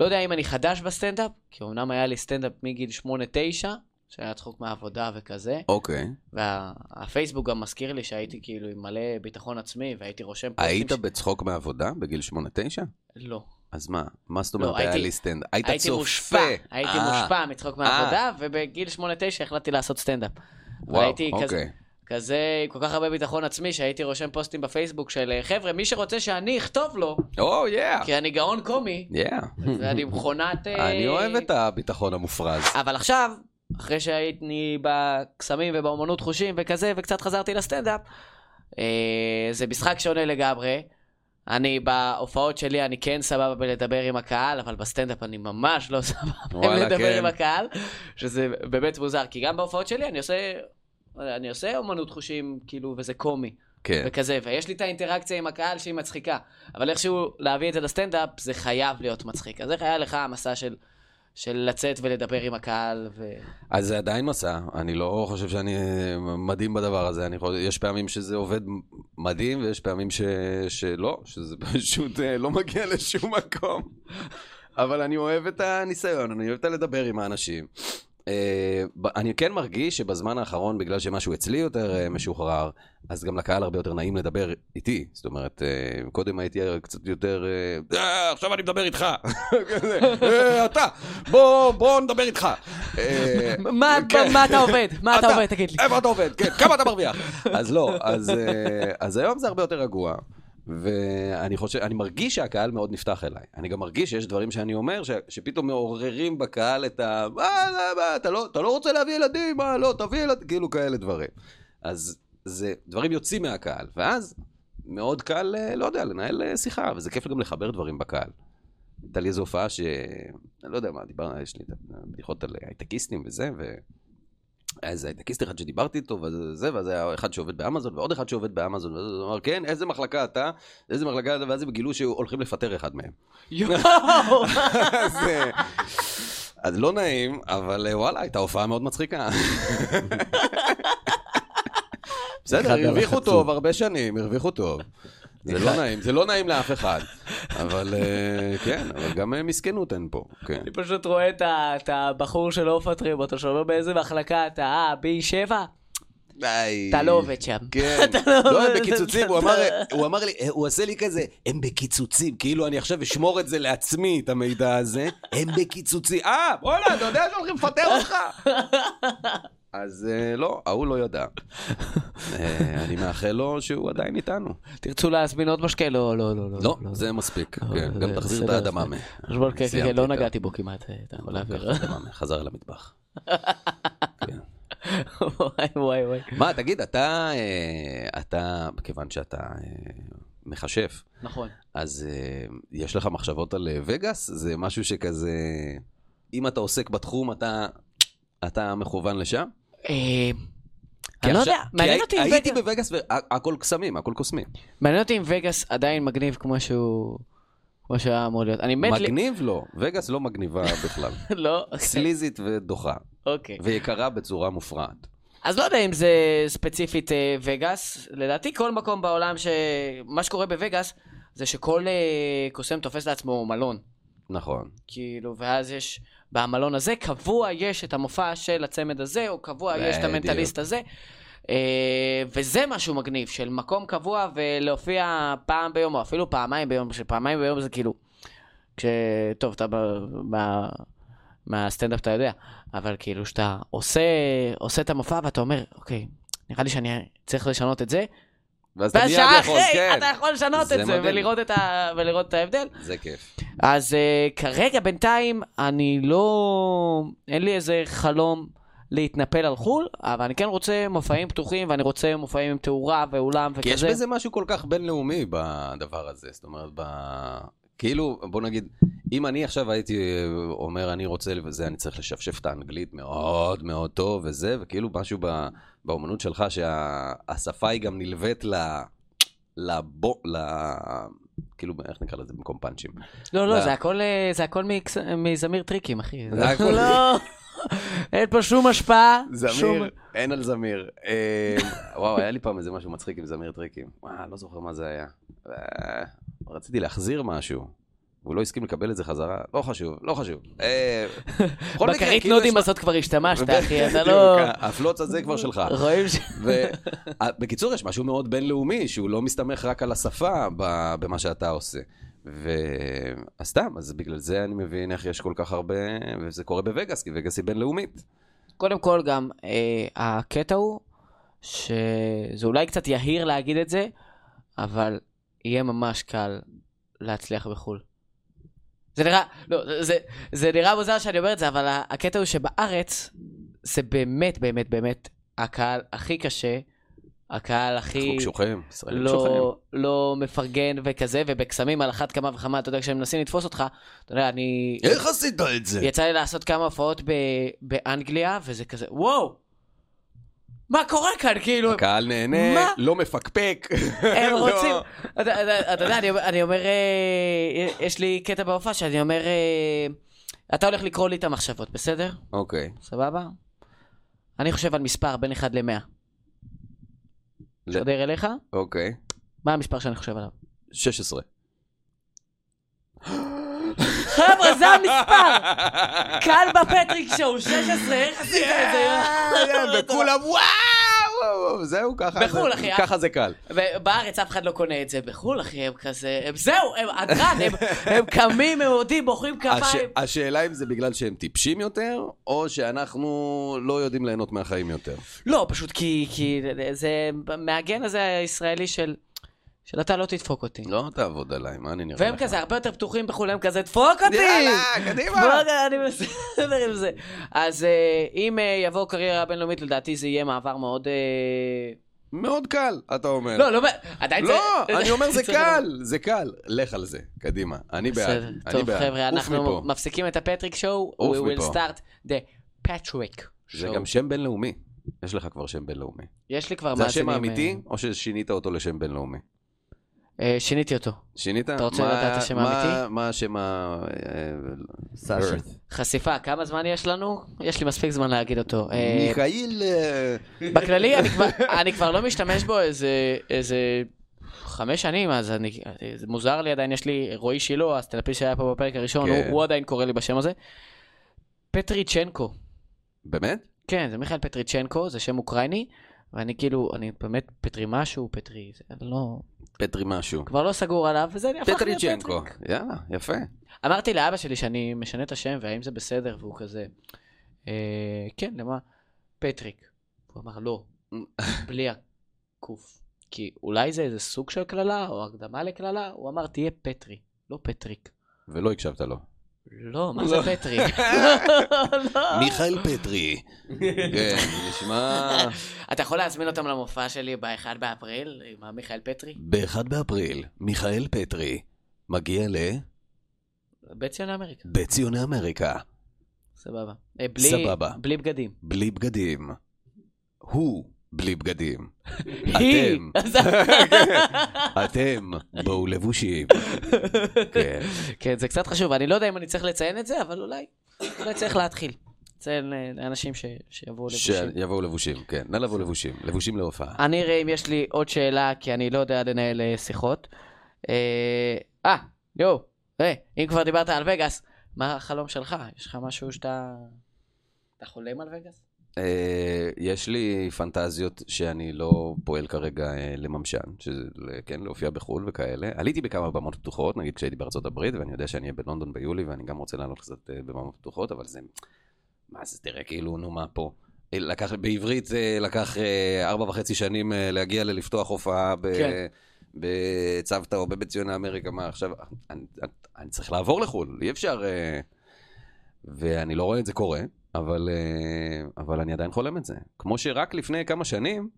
Speaker 1: לא יודע אם אני חדש בסטנדאפ, כי אמנם היה לי סטנדאפ מגיל 8-9, שהיה צחוק מהעבודה וכזה,
Speaker 2: אוקיי.
Speaker 1: והפייסבוק גם מזכיר לי שהייתי כאילו עם מלא ביטחון עצמי, והייתי רושם פוסטים
Speaker 2: היית
Speaker 1: ש-
Speaker 2: בצחוק מעבודה בגיל 8-9?
Speaker 1: לא.
Speaker 2: אז מה? מה זאת
Speaker 1: לא,
Speaker 2: אומרת, היה
Speaker 1: הייתי-
Speaker 2: לי סטנד? היית צופה.
Speaker 1: הייתי מושפע, הייתי
Speaker 2: אה,
Speaker 1: מושפע מצחוק מהעבודה, ובגיל 8-9 החלטתי לעשות סטנדאפ. אבל
Speaker 2: וואו,
Speaker 1: הייתי כזה-
Speaker 2: אוקיי.
Speaker 1: כזה, עם כל כך הרבה ביטחון עצמי, שהייתי רושם פוסטים בפייסבוק של אה, חבר'ה, מי שרוצה שאני אכתוב לו,
Speaker 2: או, יאה.
Speaker 1: כי אני גאון קומי,
Speaker 2: יאה.
Speaker 1: ואני מכונת... אה,
Speaker 2: אני אוהב את הביטחון המופרז.
Speaker 1: אבל עכשיו, אחרי שהייתי בקסמים ובאומנות חושים וכזה, וקצת חזרתי לסטנדאפ, אה, זה משחק שונה לגמרי. אני, בהופעות שלי, אני כן סבבה בלדבר עם הקהל, אבל בסטנדאפ אני ממש לא סבבה
Speaker 2: וואלה,
Speaker 1: בלדבר
Speaker 2: כן.
Speaker 1: עם הקהל, שזה באמת מוזר, כי גם בהופעות שלי אני עושה... אני עושה אומנות חושים, כאילו, וזה קומי,
Speaker 2: כן.
Speaker 1: וכזה, ויש לי את האינטראקציה עם הקהל שהיא מצחיקה, אבל איכשהו להביא את זה לסטנדאפ, זה חייב להיות מצחיק. אז איך היה לך המסע של של לצאת ולדבר עם הקהל, ו...
Speaker 2: אז זה עדיין מסע, אני לא חושב שאני אה, מדהים בדבר הזה, אני חושב, יש פעמים שזה עובד מדהים ויש פעמים ש... שלא, שזה פשוט אה, לא מגיע לשום מקום. אבל אני אוהב את הניסיון, אני אוהב את הלדבר עם האנשים. אה, ב- אני כן מרגיש שבזמן האחרון, בגלל שמשהו אצלי יותר אה, משוחרר, אז גם לקהל הרבה יותר נעים לדבר איתי. זאת אומרת, אה, קודם הייתי קצת יותר... אה, "אה, עכשיו אני מדבר איתך. כזה, "אה, אתה, בוא, בוא נדבר איתך. אה,
Speaker 1: מה,
Speaker 2: כן.
Speaker 1: מה אתה עובד? מה אתה עובד? תגיד לי.
Speaker 2: איפה אתה עובד? כן, כמה אתה מרוויח? אז לא, אז, אה, אז היום זה הרבה יותר רגוע. ואני חושב, אני מרגיש שהקהל מאוד נפתח אליי. אני גם מרגיש שיש דברים שאני אומר, ש, שפתאום מעוררים בקהל את ה... "מה, מה, מה, אתה לא, אתה לא רוצה להביא ילדים, מה, לא, תביא ילדים, כאילו כאלה דברים. אז זה, דברים יוצאים מהקהל, ואז מאוד קל, אה, לא יודע, לנהל אה, שיחה, וזה כיף גם לחבר דברים בקהל. הייתה לי איזו הופעה ש... אני לא יודע מה, דיברנו, יש לי את הבדיחות על הייטקיסטים וזה, ו... היה איזה הייטקיסט אחד שדיברתי איתו, וזה, זה, ואז היה אחד שעובד באמזון, ועוד אחד שעובד באמזון, ואז הוא אמר, כן, איזה מחלקה אתה? איזה מחלקה אתה? ואז הם גילו שהולכים לפטר אחד מהם.
Speaker 1: יואו!
Speaker 2: אז, אה, אז לא נעים, אבל אה, וואלה, הייתה הופעה מאוד מצחיקה. בסדר,
Speaker 3: אחד
Speaker 2: הרוויחו
Speaker 3: הלחצו.
Speaker 2: טוב הרבה שנים, הרוויחו טוב. זה לא נעים, זה לא נעים לאף אחד. אבל אה, כן, אבל גם אה, מסכנות אין פה, כן.
Speaker 1: אני פשוט רואה את ה- את הבחור שלא מפטרים אותו, שאומר באיזה מחלקה אתה, אה, B7?
Speaker 2: די.
Speaker 1: אתה לא עובד שם.
Speaker 2: כן,
Speaker 1: אתה לא-
Speaker 2: לא, הם בקיצוצים, הוא אמר-
Speaker 1: אתה-
Speaker 2: הוא אמר לי, אה, הוא עושה לי כזה, הם בקיצוצים, כאילו אני עכשיו אשמור את זה לעצמי, את המידע הזה, הם בקיצוצים, אה, וואלה, אתה יודע שהולכים לפטר אותך? אז אה, לא, ההוא לא ידע. אה, אני מאחל לו שהוא עדיין איתנו.
Speaker 1: תרצו להזמין עוד משקה? לא, לא, לא.
Speaker 2: לא, זה מספיק,
Speaker 1: לא,
Speaker 2: כן,
Speaker 1: זה
Speaker 2: גם תחזיר את
Speaker 1: בסדר,
Speaker 2: האדממה.
Speaker 1: חשבון, כן, כן,
Speaker 2: סיימתי
Speaker 1: כן, לא
Speaker 2: את ה- כן, לא
Speaker 1: נגעתי בו כמעט, אה, אתה יכול להעביר.
Speaker 2: האדממה, חזר למטבח. כן.
Speaker 1: וואי, וואי, וואי.
Speaker 2: מה, תגיד, אתה, אה, אתה, כיוון שאתה אה, מכשף,
Speaker 1: נכון.
Speaker 2: אז אה, יש לך מחשבות על אה, וגאס? זה משהו שכזה, אם אתה עוסק בתחום, אתה, אתה מכוון לשם?
Speaker 1: אה,
Speaker 2: כי
Speaker 1: אני לא
Speaker 2: עכשיו-
Speaker 1: יודע,
Speaker 2: כי
Speaker 1: מעניין
Speaker 2: הי-
Speaker 1: אותי אם
Speaker 2: הייתי
Speaker 1: וגאס-
Speaker 2: בווגאס והכל קסמים, הכל קוסמים.
Speaker 1: מעניין אותי אם וגאס עדיין מגניב כמו שהוא... כמו שהיה אמור להיות. אני מת... ל-
Speaker 2: מגניב לא, וגאס לא מגניבה בכלל.
Speaker 1: לא,
Speaker 2: סליזית ודוחה,
Speaker 1: אוקיי.
Speaker 2: ויקרה בצורה מופרעת.
Speaker 1: אז לא יודע אם זה ספציפית אה, וגאס, לדעתי כל מקום בעולם ש... מה שקורה בווגאס זה שכל אה, קוסם תופס לעצמו מלון.
Speaker 2: נכון.
Speaker 1: כאילו, ואז יש, במלון הזה קבוע יש את המופע של הצמד הזה, או קבוע יש את
Speaker 2: בדיוק.
Speaker 1: המנטליסט הזה. אה, וזה משהו מגניב, של מקום קבוע ולהופיע פעם ביום, או אפילו פעמיים ביום, שפעמיים ביום זה כאילו... כש... טוב, אתה ב... ב... מהסטנדאפ אתה יודע, אבל כאילו שאתה עושה, עושה את המופע ואתה אומר, אוקיי, נראה לי שאני צריך לשנות את זה,
Speaker 2: ואז אתה
Speaker 1: ואז
Speaker 2: מיד
Speaker 1: שעה
Speaker 2: יכול,
Speaker 1: אחרי
Speaker 2: כן.
Speaker 1: אתה יכול לשנות
Speaker 2: זה
Speaker 1: את זה
Speaker 2: מדהים.
Speaker 1: ולראות את, ה... ולראות את ההבדל.
Speaker 2: זה כיף.
Speaker 1: אז uh, כרגע, בינתיים, אני לא... אין לי איזה חלום להתנפל על חו"ל, אבל אני כן רוצה מופעים פתוחים, ואני רוצה מופעים עם תאורה ואולם וכזה.
Speaker 2: כי יש בזה משהו כל כך בינלאומי בדבר הזה, זאת אומרת, ב... כאילו, בוא נגיד, אם אני עכשיו הייתי אה, אומר, אני רוצה וזה, אני צריך לשפשף את האנגלית מאוד מאוד טוב וזה, וכאילו משהו ב... באומנות שלך, שהשפה היא גם נלווית ל... לבו... ל... כאילו, איך נקרא לזה במקום פאנצ'ים?
Speaker 1: לא, לא,
Speaker 2: לא.
Speaker 1: זה הכל, אה, זה הכל מקס... מזמיר טריקים, אחי.
Speaker 2: זה הכל-
Speaker 1: לא, אין פה שום השפעה. שום...
Speaker 2: זמיר, אין על זמיר. אה, וואו, היה לי פעם איזה משהו מצחיק עם זמיר טריקים. וואה, לא זוכר מה זה היה. אה, רציתי להחזיר משהו. והוא לא הסכים לקבל את זה חזרה, לא חשוב, לא חשוב. אה, בכל מקרה,
Speaker 1: בכרית
Speaker 2: כאילו יש
Speaker 1: נודים
Speaker 2: לך-
Speaker 1: הזאת כבר השתמשת, אחי, אתה
Speaker 2: בדיוק,
Speaker 1: לא...
Speaker 2: הפלוץ הזה כבר שלך.
Speaker 1: רואים ש...
Speaker 2: ובקיצור, יש משהו מאוד בינלאומי, שהוא לא מסתמך רק על השפה ב- במה שאתה עושה. ו... אז סתם, אז בגלל זה אני מבין איך יש כל כך הרבה, וזה קורה בווגאס, כי וגאס היא בינלאומית.
Speaker 1: קודם כל גם, אה, הקטע הוא שזה אולי קצת יהיר להגיד את זה, אבל יהיה ממש קל להצליח בחו"ל. זה נראה, לא, זה- זה, זה נראה מוזר שאני אומר את זה, אבל ה- הקטע הוא שבארץ זה באמת, באמת, באמת הקהל הכי קשה, הקהל הכי...
Speaker 2: אנחנו קשוחים, ישראלים קשוחים.
Speaker 1: לא, לא מפרגן וכזה, ובקסמים על אחת כמה וכמה, אתה יודע, כשהם מנסים לתפוס אותך, אתה יודע, אני...
Speaker 2: איך עשית את זה?
Speaker 1: יצא לי לעשות כמה הופעות ב- באנגליה, וזה כזה, וואו! מה קורה כאן? כאילו,
Speaker 2: הקהל נהנה,
Speaker 1: מה?
Speaker 2: לא מפקפק.
Speaker 1: הם
Speaker 2: אוקיי. לא.
Speaker 1: רוצים... אתה- אתה אתה יודע, אני אומר- אני אומר, אה, יש לי קטע בהופעה שאני אומר, אה, אתה הולך לקרוא לי את המחשבות, בסדר?
Speaker 2: אוקיי.
Speaker 1: סבבה? אני חושב על מספר בין 1 ל-100.
Speaker 2: ל-
Speaker 1: שדר אליך?
Speaker 2: אוקיי.
Speaker 1: מה המספר שאני חושב עליו?
Speaker 2: 16.
Speaker 1: חבר'ה, זה המספר! כאן בפטריק שואו, 16, איך עשית את זה?
Speaker 2: כן, וכולם וואו, וואו, וואו, זהו, ככה
Speaker 1: בחו"ל,
Speaker 2: זה-
Speaker 1: אחי, אה?
Speaker 2: ככה זה קל.
Speaker 1: ובארץ אף אחד לא קונה את זה, בחו"ל אחי, הם כזה, הם זהו, הם אדרן, הם, הם קמים, הם עומדים, בוחרים
Speaker 2: הש-
Speaker 1: כפיים.
Speaker 2: השאלה אם זה בגלל שהם טיפשים יותר, או שאנחנו לא יודעים ליהנות מהחיים יותר.
Speaker 1: לא, פשוט כי, כי זה מהגן הזה הישראלי של, של אתה לא תדפוק אותי.
Speaker 2: לא תעבוד עליי, מה אני נראה
Speaker 1: והם
Speaker 2: לך?
Speaker 1: כזה הרבה יותר פתוחים בחו"ל, הם כזה, דפוק אותי!
Speaker 2: יאללה, קדימה!
Speaker 1: דפוק, אני בסדר עם זה. אז אה, אם אה, יבוא קריירה בינלאומית, לדעתי זה יהיה מעבר מאוד... אה,
Speaker 2: מאוד קל, אתה אומר.
Speaker 1: לא, לא, עדיין זה...
Speaker 2: כן. לא, אני אומר זה
Speaker 1: בסדר.
Speaker 2: קל, זה קל. לך על זה, קדימה. אני בעד,
Speaker 1: בסדר.
Speaker 2: אני
Speaker 1: טוב,
Speaker 2: בעד.
Speaker 1: חבר'ה,
Speaker 2: עוף
Speaker 1: אנחנו
Speaker 2: מפה.
Speaker 1: מפסיקים את הפטריק שואו. We
Speaker 2: עוף
Speaker 1: will
Speaker 2: מפה.
Speaker 1: start the Patrick
Speaker 2: זה
Speaker 1: show.
Speaker 2: גם שם בינלאומי. יש לך כבר שם בינלאומי.
Speaker 1: יש לי כבר
Speaker 2: זה
Speaker 1: מאזינים.
Speaker 2: השם האמיתי,
Speaker 1: אה,
Speaker 2: או ששינית אותו לשם בינלאומי?
Speaker 1: אה, שיניתי אותו.
Speaker 2: שינית?
Speaker 1: אתה רוצה
Speaker 2: מה-
Speaker 1: לדעת את השם
Speaker 2: מה-
Speaker 1: האמיתי?
Speaker 2: מה השם ה... אה,
Speaker 3: סשה.
Speaker 1: חשיפה, כמה זמן יש לנו? יש לי מספיק זמן להגיד אותו. אה,
Speaker 2: מיכאיל... אה,
Speaker 1: בכללי, אני כבר- אני כבר לא משתמש בו איזה... איזה... חמש שנים, אז אני, זה מוזר לי עדיין, יש לי רועי שילה, הסטנדאפיסט שהיה פה בפרק הראשון,
Speaker 2: כן.
Speaker 1: הוא, הוא עדיין קורא לי בשם הזה. פטריצ'נקו.
Speaker 2: באמת?
Speaker 1: כן, זה מיכאל פטריצ'נקו, זה שם אוקראיני, ואני כאילו, אני באמת פטרי משהו, פטרי, זה אני לא,
Speaker 2: פטרי משהו.
Speaker 1: כבר לא סגור עליו, וזה הפך להיות
Speaker 2: פטריצ'נקו.
Speaker 1: פטריק.
Speaker 2: יאללה, יפה.
Speaker 1: אמרתי לאבא שלי שאני משנה את השם, והאם זה בסדר, והוא כזה, אה, כן, למה? פטריק. הוא אמר, לא, בלי הקוף. כי אולי זה איזה סוג של קללה, או הקדמה לקללה, הוא אמר, תהיה פטרי, לא פטריק.
Speaker 2: ולא הקשבת לו.
Speaker 1: לא, מה זה
Speaker 2: לא.
Speaker 1: פטרי? לא.
Speaker 2: מיכאל פטרי. כן, נשמע...
Speaker 1: אתה יכול להזמין אותם למופע שלי ב-1 באפריל, עם המיכאל פטרי?
Speaker 2: ב-1 באפריל, מיכאל פטרי מגיע
Speaker 1: בית ציוני אמריקה,
Speaker 2: לבציוני אמריקה,
Speaker 1: סבבה. אה, בלי,
Speaker 2: סבבה.
Speaker 1: בלי בגדים.
Speaker 2: בלי בגדים. הוא בלי בגדים.
Speaker 1: היא!
Speaker 2: אתם, בואו לבושים. כן.
Speaker 1: כן, זה קצת חשוב. אני לא יודע אם אני צריך לציין את זה, אבל אולי, אולי צריך להתחיל. לציין אה, לאנשים ש... שיבואו לבושים.
Speaker 2: שיבואו לבושים, כן. נא לבוא לבושים. לבושים להופעה.
Speaker 1: אני אראה אם יש לי עוד שאלה, כי אני לא יודע לנהל אה, שיחות. אה, אה, יואו, אה, אם כבר דיברת על וגאס, מה החלום שלך? יש לך משהו שאתה... אתה חולם על וגאס?
Speaker 2: אה, יש לי פנטזיות שאני לא פועל כרגע אה, לממשן, שזה, ל- כן, להופיע בחו"ל וכאלה. עליתי בכמה במות פתוחות, נגיד כשהייתי בארצות הברית, ואני יודע שאני אהיה בלונדון ביולי, ואני גם רוצה לעלות קצת אה, במות פתוחות, אבל זה... מה זה, תראה, כאילו, נו, מה פה? אה, לקח, בעברית זה לקח אה, ארבע וחצי שנים אה, להגיע ללפתוח הופעה ב...
Speaker 1: כן.
Speaker 2: בצוותא או בבית ציוני אמריקה, מה עכשיו, אני, אני, אני צריך לעבור לחו"ל, אי אפשר... אה, ואני לא רואה את זה קורה, אבל, אה, אבל אני עדיין חולם את זה. כמו שרק לפני כמה שנים,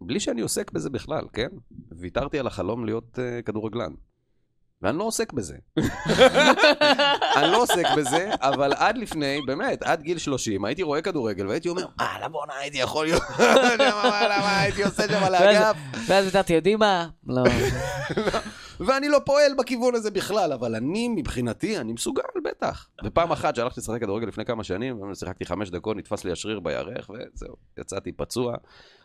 Speaker 2: בלי שאני עוסק בזה בכלל, כן? ויתרתי על החלום להיות אה, כדורגלן. ואני לא עוסק בזה. אני לא עוסק בזה, אבל עד לפני, באמת, עד גיל 30, הייתי רואה כדורגל והייתי אומר, אה, לבואנה הייתי יכול להיות, למה, למה, הייתי עושה שם על האגף.
Speaker 1: ואז ויתרתי, יודעים מה? לא.
Speaker 2: ואני לא פועל בכיוון הזה בכלל, אבל אני, מבחינתי, אני מסוגל, בטח. ופעם אחת שהלכתי לשחק כדורגל לפני כמה שנים, שיחקתי חמש דקות, נתפס לי השריר בירך, וזהו, יצאתי פצוע,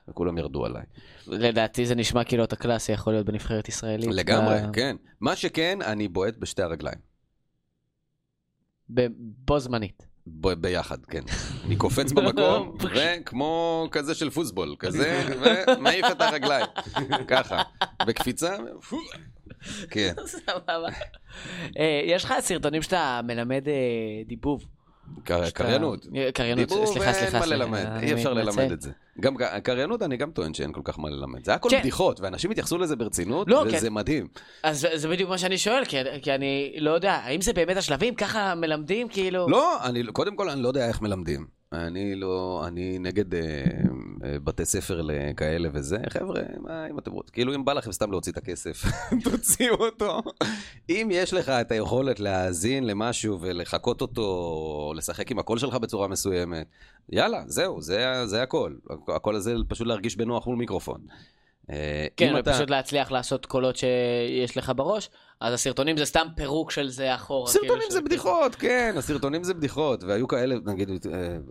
Speaker 2: וכולם ירדו עליי.
Speaker 1: לדעתי זה נשמע כאילו אתה קלאסי יכול להיות בנבחרת ישראלית.
Speaker 2: לגמרי,
Speaker 1: ב-
Speaker 2: כן. מה שכן, אני בועט בשתי הרגליים.
Speaker 1: ב- בו זמנית.
Speaker 2: ב- ביחד, כן. אני קופץ במקום, וכמו כזה של פוסבול, כזה, ומעיף את הרגליים. ככה. בקפיצה, פו. כן.
Speaker 1: סבבה. אה, יש לך סרטונים שאתה מלמד אה, דיבוב.
Speaker 2: קר-
Speaker 1: שאתה-
Speaker 2: קריינות.
Speaker 1: אה, קריינות,
Speaker 2: דיבור
Speaker 1: סליחה,
Speaker 2: ואין
Speaker 1: סליחה.
Speaker 2: מה
Speaker 1: סליחה, אה,
Speaker 2: ללמד,
Speaker 1: אני
Speaker 2: אי אפשר
Speaker 1: מתנצל.
Speaker 2: ללמד את זה. גם ק- קריינות, אני גם טוען שאין כל כך מה ללמד. זה הכל
Speaker 1: כן.
Speaker 2: בדיחות, ואנשים התייחסו לזה ברצינות,
Speaker 1: לא,
Speaker 2: וזה
Speaker 1: כן.
Speaker 2: מדהים.
Speaker 1: אז זה- זה בדיוק מה שאני שואל, כי- כי אני לא יודע, האם זה באמת השלבים? ככה מלמדים? כאילו...
Speaker 2: לא, אני, קודם כל, אני לא יודע איך מלמדים. אני לא, אני נגד אה, אה, בתי ספר לכאלה וזה. חבר'ה, מה אם אתם רוצים? כאילו, אם בא לכם סתם להוציא את הכסף, תוציאו אותו. אם יש לך את היכולת להאזין למשהו ולחקות אותו, או לשחק עם הקול שלך בצורה מסוימת, יאללה, זהו, זה, זה הכל. הכל הזה פשוט להרגיש בנוח מול מיקרופון. אה,
Speaker 1: כן,
Speaker 2: אם אתה-
Speaker 1: ופשוט להצליח לעשות קולות שיש לך בראש, אז הסרטונים זה סתם פירוק של זה אחורה.
Speaker 2: סרטונים
Speaker 1: כאילו,
Speaker 2: זה
Speaker 1: של-
Speaker 2: בדיחות, כן, הסרטונים זה בדיחות. והיו כאלה, נגיד, אה,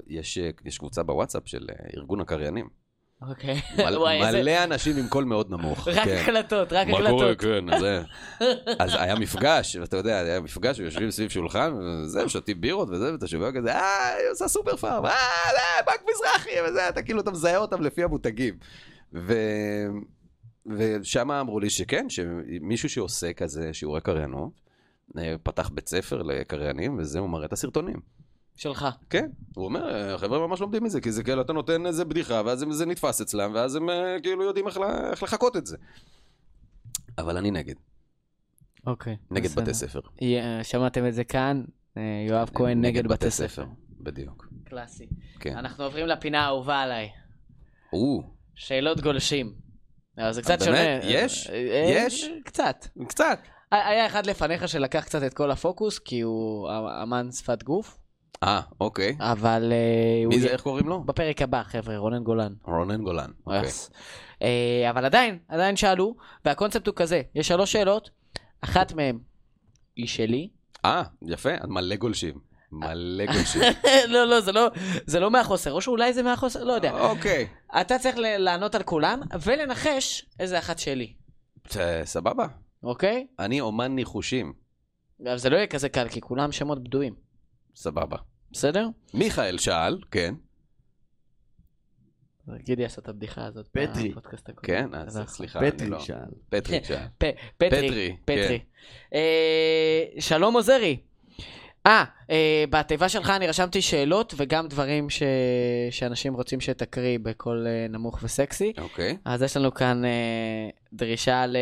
Speaker 2: יש, אה, יש קבוצה בוואטסאפ של אה, ארגון הקריינים.
Speaker 1: אוקיי.
Speaker 2: מל-
Speaker 1: וואי, איזה-
Speaker 2: מלא אנשים עם קול מאוד נמוך.
Speaker 1: רק
Speaker 2: כן.
Speaker 1: הקלטות, רק
Speaker 2: מה קורה,
Speaker 1: הקלטות.
Speaker 2: כן, זה. אז היה מפגש, ואתה יודע, היה מפגש, יושבים סביב שולחן, וזה, שותים בירות וזה, ואתה שומע כזה, אה, היא עושה סופר פארם, אה, זה, בנק מזרחי, וזה, אתה כאילו, אתה מזהה אותם לפי המותגים. ו... ושם אמרו לי שכן, שמישהו שעושה כזה שיעורי קריינות, אה, פתח בית ספר לקריינים, וזה, הוא מראה את הסרטונים.
Speaker 1: שלך.
Speaker 2: כן, הוא אומר, החבר'ה ממש לומדים מזה, כי זה כאילו, אתה נותן איזה בדיחה, ואז זה נתפס אצלם, ואז הם אה, כאילו יודעים איך ל- איך לחקות את זה. אבל אני נגד,
Speaker 1: אוקיי.
Speaker 2: נגד
Speaker 1: בסדר.
Speaker 2: בתי ספר.
Speaker 1: יה- אה, שמעתם את זה כאן, אה,
Speaker 2: כן,
Speaker 1: יואב כהן נגד בתי ספר.
Speaker 2: בדיוק,
Speaker 1: קלאסי.
Speaker 2: כן.
Speaker 1: אנחנו עוברים לפינה האהובה עליי.
Speaker 2: או,
Speaker 1: שאלות גולשים. אבל זה קצת
Speaker 2: אה, באמת?
Speaker 1: שונה.
Speaker 2: יש?
Speaker 1: אה, אה,
Speaker 2: יש?
Speaker 1: קצת.
Speaker 2: קצת.
Speaker 1: היה אחד לפניך שלקח קצת את כל הפוקוס, כי הוא אמן שפת גוף,
Speaker 2: אה, אוקיי.
Speaker 1: אבל... אה, הוא
Speaker 2: מי זה,
Speaker 1: יהיה-
Speaker 2: איך קוראים לו?
Speaker 1: בפרק הבא, חבר'ה, רונן גולן.
Speaker 2: רונן גולן. אוקיי.
Speaker 1: אז, אה, אבל עדיין, עדיין שאלו, והקונספט הוא כזה, יש שלוש שאלות, אחת מהן היא שלי.
Speaker 2: אה, יפה, אז מלא גולשים. מלא גולשים.
Speaker 1: לא, לא, זה לא, זה לא מהחוסר, או שאולי זה מהחוסר, לא יודע.
Speaker 2: אוקיי.
Speaker 1: אתה צריך ל- לענות על כולם, ולנחש איזה אחת שלי,
Speaker 2: ת- סבבה.
Speaker 1: אוקיי?
Speaker 2: אני אומן ניחושים.
Speaker 1: אבל זה לא יהיה כזה קל, כי כולם שמות בדויים,
Speaker 2: סבבה.
Speaker 1: בסדר?
Speaker 2: מיכאל שאל, כן,
Speaker 1: אז גידי עשה את הבדיחה הזאת.
Speaker 3: פטרי.
Speaker 1: בפודקאסט הקודם.
Speaker 2: כן, אז
Speaker 1: אז-
Speaker 2: סליחה, אני
Speaker 3: פטרי
Speaker 2: לא.
Speaker 3: שאל.
Speaker 1: כן.
Speaker 2: פטרי שאל. כן.
Speaker 1: פ- פטרי.
Speaker 2: פטרי,
Speaker 1: פטרי. אה, שלום עוזרי. אה, אה, בתיבה שלך אני רשמתי שאלות וגם דברים ש... שאנשים רוצים שתקריא בקול אה, נמוך וסקסי.
Speaker 2: כן. אוקיי.
Speaker 1: אז יש לנו כאן אה, דרישה ל...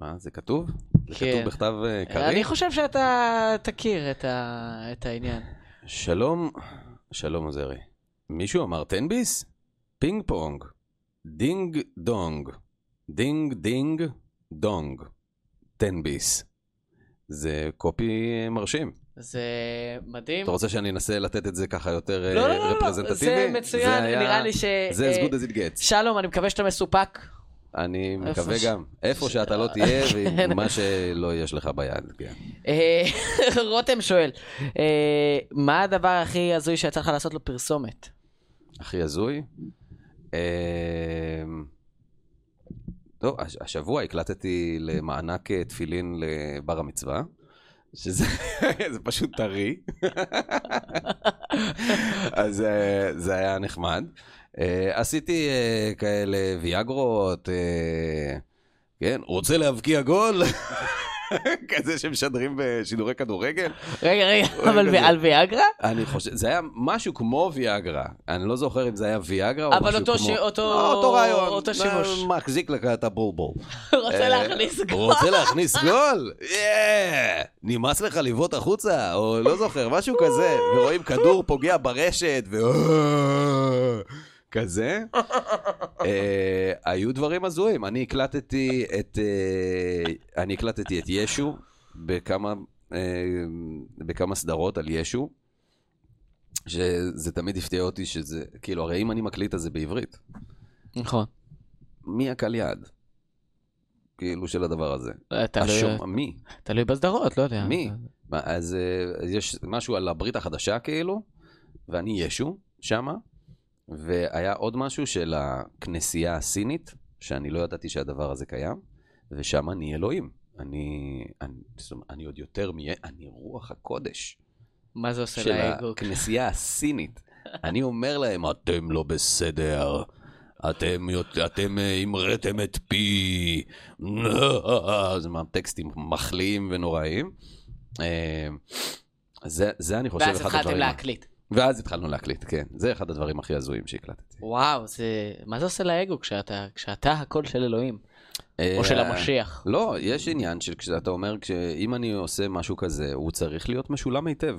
Speaker 2: מה, זה כתוב? זה
Speaker 1: כן.
Speaker 2: כתוב בכתב אה, קריא?
Speaker 1: אני חושב שאתה תכיר את, ה... את העניין.
Speaker 2: שלום, שלום עוזרי. מישהו אמר תן ביס? פינג פונג. דינג דונג. דינג דינג דונג. תן ביס. זה קופי אה, מרשים.
Speaker 1: זה מדהים.
Speaker 2: אתה רוצה שאני אנסה לתת את זה ככה יותר אה,
Speaker 1: לא, לא, לא, לא,
Speaker 2: רפרזנטטיבי?
Speaker 1: זה מצוין,
Speaker 2: היה-
Speaker 1: נראה לי ש...
Speaker 2: זה as
Speaker 1: אה,
Speaker 2: good as it gets.
Speaker 1: שלום, אני מקווה שאתה מסופק.
Speaker 2: אני מקווה
Speaker 1: ש-
Speaker 2: גם. איפה
Speaker 1: ש-
Speaker 2: שאתה לא תהיה,
Speaker 1: כן.
Speaker 2: ועם מה שלא יש לך ביד, כן.
Speaker 1: אה, רותם שואל, אה, מה הדבר הכי הזוי שיצא לך לעשות לו פרסומת?
Speaker 2: הכי הזוי. אמ, טוב, הש- השבוע הקלטתי למענק אה, תפילין לבר המצווה, שזה זה פשוט טרי. אז אה, זה היה נחמד. אה, עשיתי אה, כאלה ויאגרות, אה, כן, רוצה להבקיע גול? כזה שמשדרים בשידורי כדורגל?
Speaker 1: רגע, רגע,
Speaker 2: אוי,
Speaker 1: אבל
Speaker 2: כזה.
Speaker 1: על ויאגרה?
Speaker 2: אני חושב, זה היה משהו כמו ויאגרה. אני לא זוכר אם זה היה ויאגרה או משהו
Speaker 1: אבל
Speaker 2: כמו...
Speaker 1: אותו ש- אותו-
Speaker 2: לא, אותו רעיון.
Speaker 1: אותו
Speaker 2: אה,
Speaker 1: שימוש.
Speaker 2: מחזיק לך את הבורבור.
Speaker 1: רוצה להכניס
Speaker 2: אה,
Speaker 1: גול.
Speaker 2: רוצה להכניס גול? אה, נמאס לך לבעוט החוצה, או לא זוכר, משהו כזה. ורואים כדור פוגע ברשת, ו... כזה. אה, היו דברים הזויים. אני הקלטתי את... אה, אני הקלטתי את ישו בכמה... אה, בכמה סדרות על ישו, שזה תמיד הפתיע אותי שזה, כאילו, הרי אם אני מקליט אז זה בעברית.
Speaker 1: נכון.
Speaker 2: מי הקל יעד? כאילו של הדבר הזה.
Speaker 1: אה, תלוי-
Speaker 2: השומע, מי?
Speaker 1: תלוי בסדרות, לא יודע.
Speaker 2: מי? מה, אז אה, אז יש משהו על הברית החדשה כאילו, ואני ישו שמה, והיה עוד משהו של הכנסייה הסינית, שאני לא ידעתי שהדבר הזה קיים, ושם אני אלוהים. אני, אני, זאת אומרת, אני עוד יותר מ... אני רוח הקודש
Speaker 1: מה זה עושה
Speaker 2: של
Speaker 1: לאגו?
Speaker 2: הכנסייה הסינית. אני אומר להם, אתם לא בסדר. אתם, יות- אתם אה, המראתם את פי. זה מהטקסטים מחליאים ונוראים. אה, זה, זה אני חושב
Speaker 1: ואז
Speaker 2: אחד
Speaker 1: התחלתם
Speaker 2: הדברים.
Speaker 1: להקליט.
Speaker 2: ואז התחלנו להקליט, כן. זה אחד הדברים הכי הזויים שהקלטתי.
Speaker 1: וואו, זה... מה זה עושה לאגו כשאתה כשאתה הקול של אלוהים? או
Speaker 2: אה,
Speaker 1: של המשיח?
Speaker 2: לא, יש עניין של כשאתה אומר, אם אני עושה משהו כזה, הוא צריך להיות משולם היטב.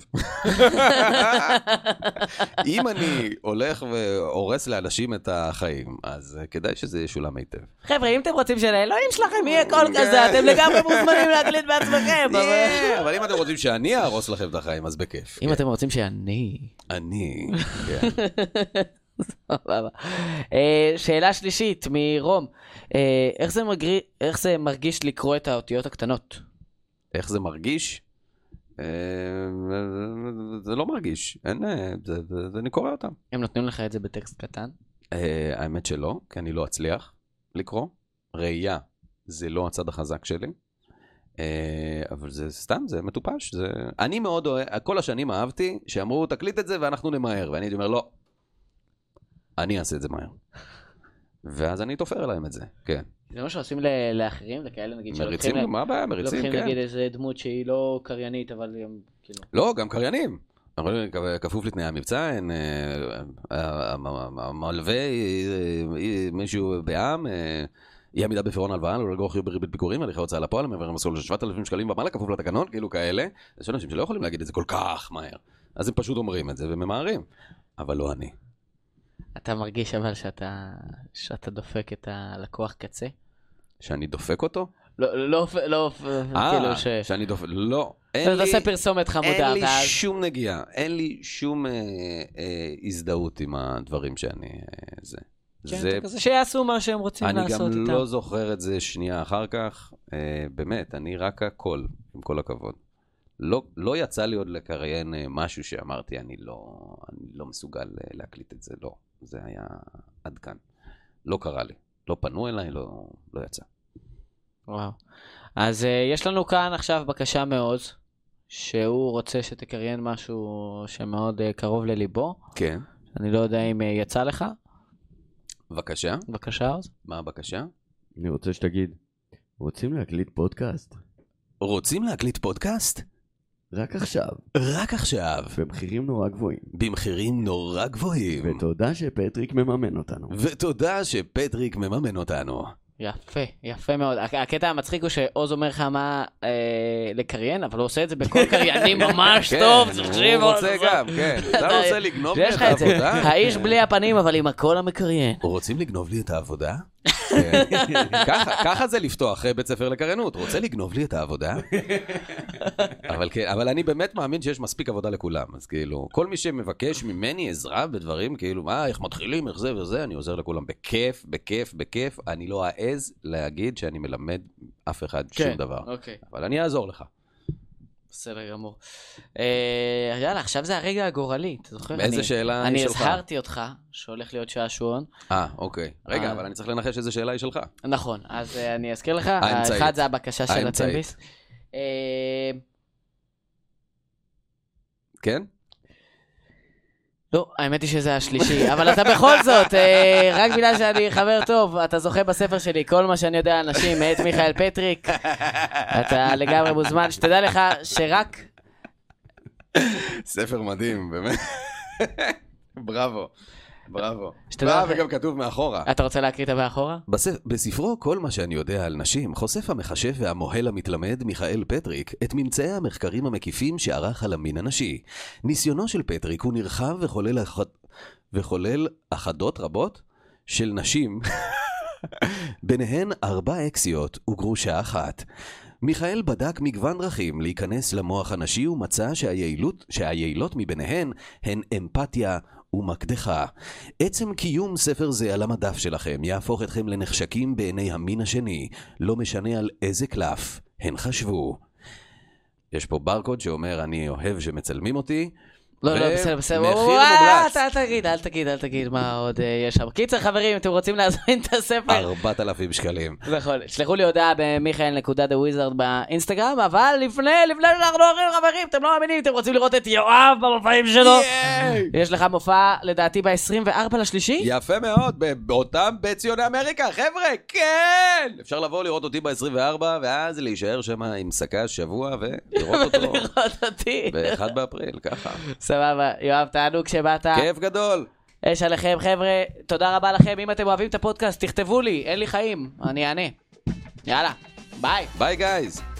Speaker 2: אם אני הולך והורס לאנשים את החיים, אז אה, כדאי שזה ישולם היטב.
Speaker 1: חבר'ה, אם אתם רוצים שלאלוהים שלכם יהיה קול
Speaker 2: כן.
Speaker 1: כזה, אתם לגמרי מוזמנים להקליט בעצמכם. אבל-
Speaker 2: אה, אבל אם אתם רוצים שאני אהרוס לכם את החיים, אז בכיף.
Speaker 1: אם אתם רוצים שאני...
Speaker 2: אני, כן.
Speaker 1: סבבה. אה, שאלה שלישית מרום, אה, איך זה מגרי- איך זה מרגיש לקרוא את האותיות הקטנות?
Speaker 2: איך זה מרגיש? אה, זה לא מרגיש, אין, אה, זה- זה- זה- אני קורא אותם.
Speaker 1: הם נותנים לך את זה בטקסט קטן?
Speaker 2: אה, האמת שלא, כי אני לא אצליח לקרוא. ראייה זה לא הצד החזק שלי. אה, אבל זה סתם, זה מטופש. זה... אני מאוד אוהב, כל השנים אהבתי שאמרו, תקליט את זה ואנחנו נמהר. ואני הייתי אומר, לא, אני אעשה את זה מהר. ואז אני תופר להם את זה, כן.
Speaker 1: זה מה שעושים ל- לאחרים, לכאלה נגיד
Speaker 2: מריצים,
Speaker 1: שלוקחים להם-
Speaker 2: מה הבעיה? מריצים,
Speaker 1: לוקחים
Speaker 2: כן.
Speaker 1: נגיד איזה דמות שהיא לא קריינית, אבל גם כאילו...
Speaker 2: לא, גם קריינים. אומרים, "כ- כפוף לתנאי המבצע, אין, אה, אה, המ- המ- המלווה, אה, אה, מישהו בעם, אה, אי עמידה בפירעון הלוואה, לא לגרור חיוב בריבית פיגורים, הליכי הוצאה לפועל, מעבר למסלול של 7,000 שקלים ומעלה, כפוף לתקנון, כאילו כאלה. יש אנשים שלא יכולים להגיד את זה כל כך מהר. אז הם פשוט אומרים את זה וממהרים. אבל לא אני.
Speaker 1: אתה מרגיש אבל שאתה שאתה דופק את הלקוח קצה?
Speaker 2: שאני דופק אותו?
Speaker 1: לא, לא, לא, כאילו ש...
Speaker 2: אה, שאני דופק, לא. אין
Speaker 1: אתה
Speaker 2: לי-
Speaker 1: עושה פרסומת חמודה,
Speaker 2: אין לי
Speaker 1: ואז...
Speaker 2: שום נגיעה, אין לי שום אה, אה, הזדהות עם הדברים שאני... אה, זה.
Speaker 1: כן,
Speaker 2: זה
Speaker 1: אתה כזה שיעשו מה שהם רוצים
Speaker 2: אני
Speaker 1: לעשות
Speaker 2: גם
Speaker 1: איתם.
Speaker 2: לא זוכר את זה שנייה אחר כך. אה, באמת, אני רק הקול, עם כל הכבוד. לא, לא יצא לי עוד לקריין אה, משהו שאמרתי, אני לא, אני לא מסוגל אה, להקליט את זה, לא. זה היה עד כאן. לא קרה לי. לא פנו אליי, לא, לא יצא.
Speaker 1: וואו. אז אה, יש לנו כאן עכשיו בקשה מעוז, שהוא רוצה שתקריין משהו שמאוד אה, קרוב לליבו.
Speaker 2: כן.
Speaker 1: אני לא יודע אם אה, יצא לך.
Speaker 2: בבקשה,
Speaker 1: בבקשה, עוז.
Speaker 2: מה הבקשה?
Speaker 3: אני רוצה שתגיד, רוצים להקליט פודקאסט?
Speaker 2: רוצים להקליט פודקאסט?
Speaker 3: רק עכשיו,
Speaker 2: רק עכשיו.
Speaker 3: במחירים נורא גבוהים.
Speaker 2: במחירים נורא גבוהים.
Speaker 3: ותודה שפטריק מממן אותנו.
Speaker 2: ותודה שפטריק מממן אותנו.
Speaker 1: יפה, יפה מאוד. הק- הקטע המצחיק הוא שעוז אומר לך מה אה, לקריין, אבל הוא עושה את זה בקול קרייני
Speaker 3: כן,
Speaker 1: ממש טוב, תקשיב,
Speaker 2: כן, הוא
Speaker 1: עוז,
Speaker 2: רוצה
Speaker 1: עוז.
Speaker 2: גם, כן. אתה
Speaker 1: אתה-
Speaker 2: רוצה לגנוב לי
Speaker 1: יש
Speaker 2: את
Speaker 1: לך את זה.
Speaker 2: העבודה?
Speaker 1: האיש בלי הפנים, אבל עם הקול המקריין.
Speaker 2: רוצים לגנוב לי את העבודה? כן. ככה- ככה זה לפתוח אה, בית ספר לקריינות, רוצה לגנוב לי את העבודה? אבל כן, אבל אני באמת מאמין שיש מספיק עבודה לכולם, אז כאילו, כל מי שמבקש ממני עזרה בדברים, כאילו, מה, איך מתחילים, איך זה וזה, אני עוזר לכולם בכיף, בכיף, בכיף, אני לא אעז להגיד שאני מלמד אף אחד שום דבר,
Speaker 1: אוקיי,
Speaker 2: אבל אני אעזור לך.
Speaker 1: בסדר גמור. אה, יאללה, עכשיו זה הרגע הגורלי, אתה זוכר?
Speaker 2: איזה
Speaker 1: אני-
Speaker 2: שאלה היא
Speaker 1: אני
Speaker 2: שלך?
Speaker 1: הזהרתי אותך שהולך להיות שעשועון.
Speaker 2: אה, אוקיי. רגע,
Speaker 1: אה.
Speaker 2: אבל אני צריך לנחש איזה שאלה היא שלך.
Speaker 1: נכון, אז אה, אני אזכיר לך,
Speaker 2: האמצעית.
Speaker 1: האחד זה הבקשה של
Speaker 2: האמצעית.
Speaker 1: הטמביס. אה,
Speaker 2: כן?
Speaker 1: לא, האמת היא שזה השלישי, אבל אתה בכל זאת, אה, רק בגלל שאני חבר טוב, אתה זוכה בספר שלי, כל מה שאני יודע על נשים, מאת מיכאל פטריק, אתה לגמרי מוזמן, שתדע לך שרק...
Speaker 2: ספר מדהים, באמת. בראבו, בראבו.
Speaker 1: שתדע
Speaker 2: אה,
Speaker 1: לך-
Speaker 2: וגם כתוב מאחורה.
Speaker 1: אתה רוצה להקריא את המאחורה?
Speaker 2: בספ... בספרו "כל מה שאני יודע על נשים" חושף המחשב והמוהל המתלמד מיכאל פטריק את ממצאי המחקרים המקיפים שערך על המין הנשי. ניסיונו של פטריק הוא נרחב וחולל, אח... וחולל אחדות רבות של נשים, ביניהן ארבע אקסיות וגרושה אחת. מיכאל בדק מגוון דרכים להיכנס למוח הנשי ומצא שהיעילות, שהיעילות מביניהן הן אמפתיה ומקדחה. עצם קיום ספר זה על המדף שלכם יהפוך אתכם לנחשקים בעיני המין השני, לא משנה על איזה קלף הן חשבו. יש פה ברקוד שאומר, אני אוהב שמצלמים אותי.
Speaker 1: לא, לא,
Speaker 2: ו-
Speaker 1: בסדר, בסדר.
Speaker 2: מחיר
Speaker 1: וואו,
Speaker 2: מומלץ.
Speaker 1: אתה- אל תגיד, אל תגיד, אל תגיד מה עוד אה, יש שם. קיצר, חברים, אתם רוצים להזמין את הספר?
Speaker 2: 4,000 שקלים.
Speaker 1: נכון, שלחו לי הודעה במיכאל.TheWizard באינסטגרם, אבל לפני, לפני שאנחנו הולכים, חברים, אתם לא מאמינים, אתם רוצים לראות את יואב במופעים שלו?
Speaker 2: ייי!
Speaker 1: יש לך מופע, לדעתי, ב-24 לשלישי?
Speaker 2: יפה מאוד, ב- באותם בציוני אמריקה, חבר'ה, כן! אפשר לבוא לראות אותי ב-24, ואז להישאר שם עם שקה שבוע ולראות אותו
Speaker 1: לראות אותי.
Speaker 2: ב-1 באפריל, ככה.
Speaker 1: סבבה, יואב, תענוג שבאת.
Speaker 2: כיף גדול.
Speaker 1: יש עליכם, חבר'ה, תודה רבה לכם. אם אתם אוהבים את הפודקאסט, תכתבו לי, אין לי חיים, אני אענה. יאללה, ביי.
Speaker 2: ביי, גייז.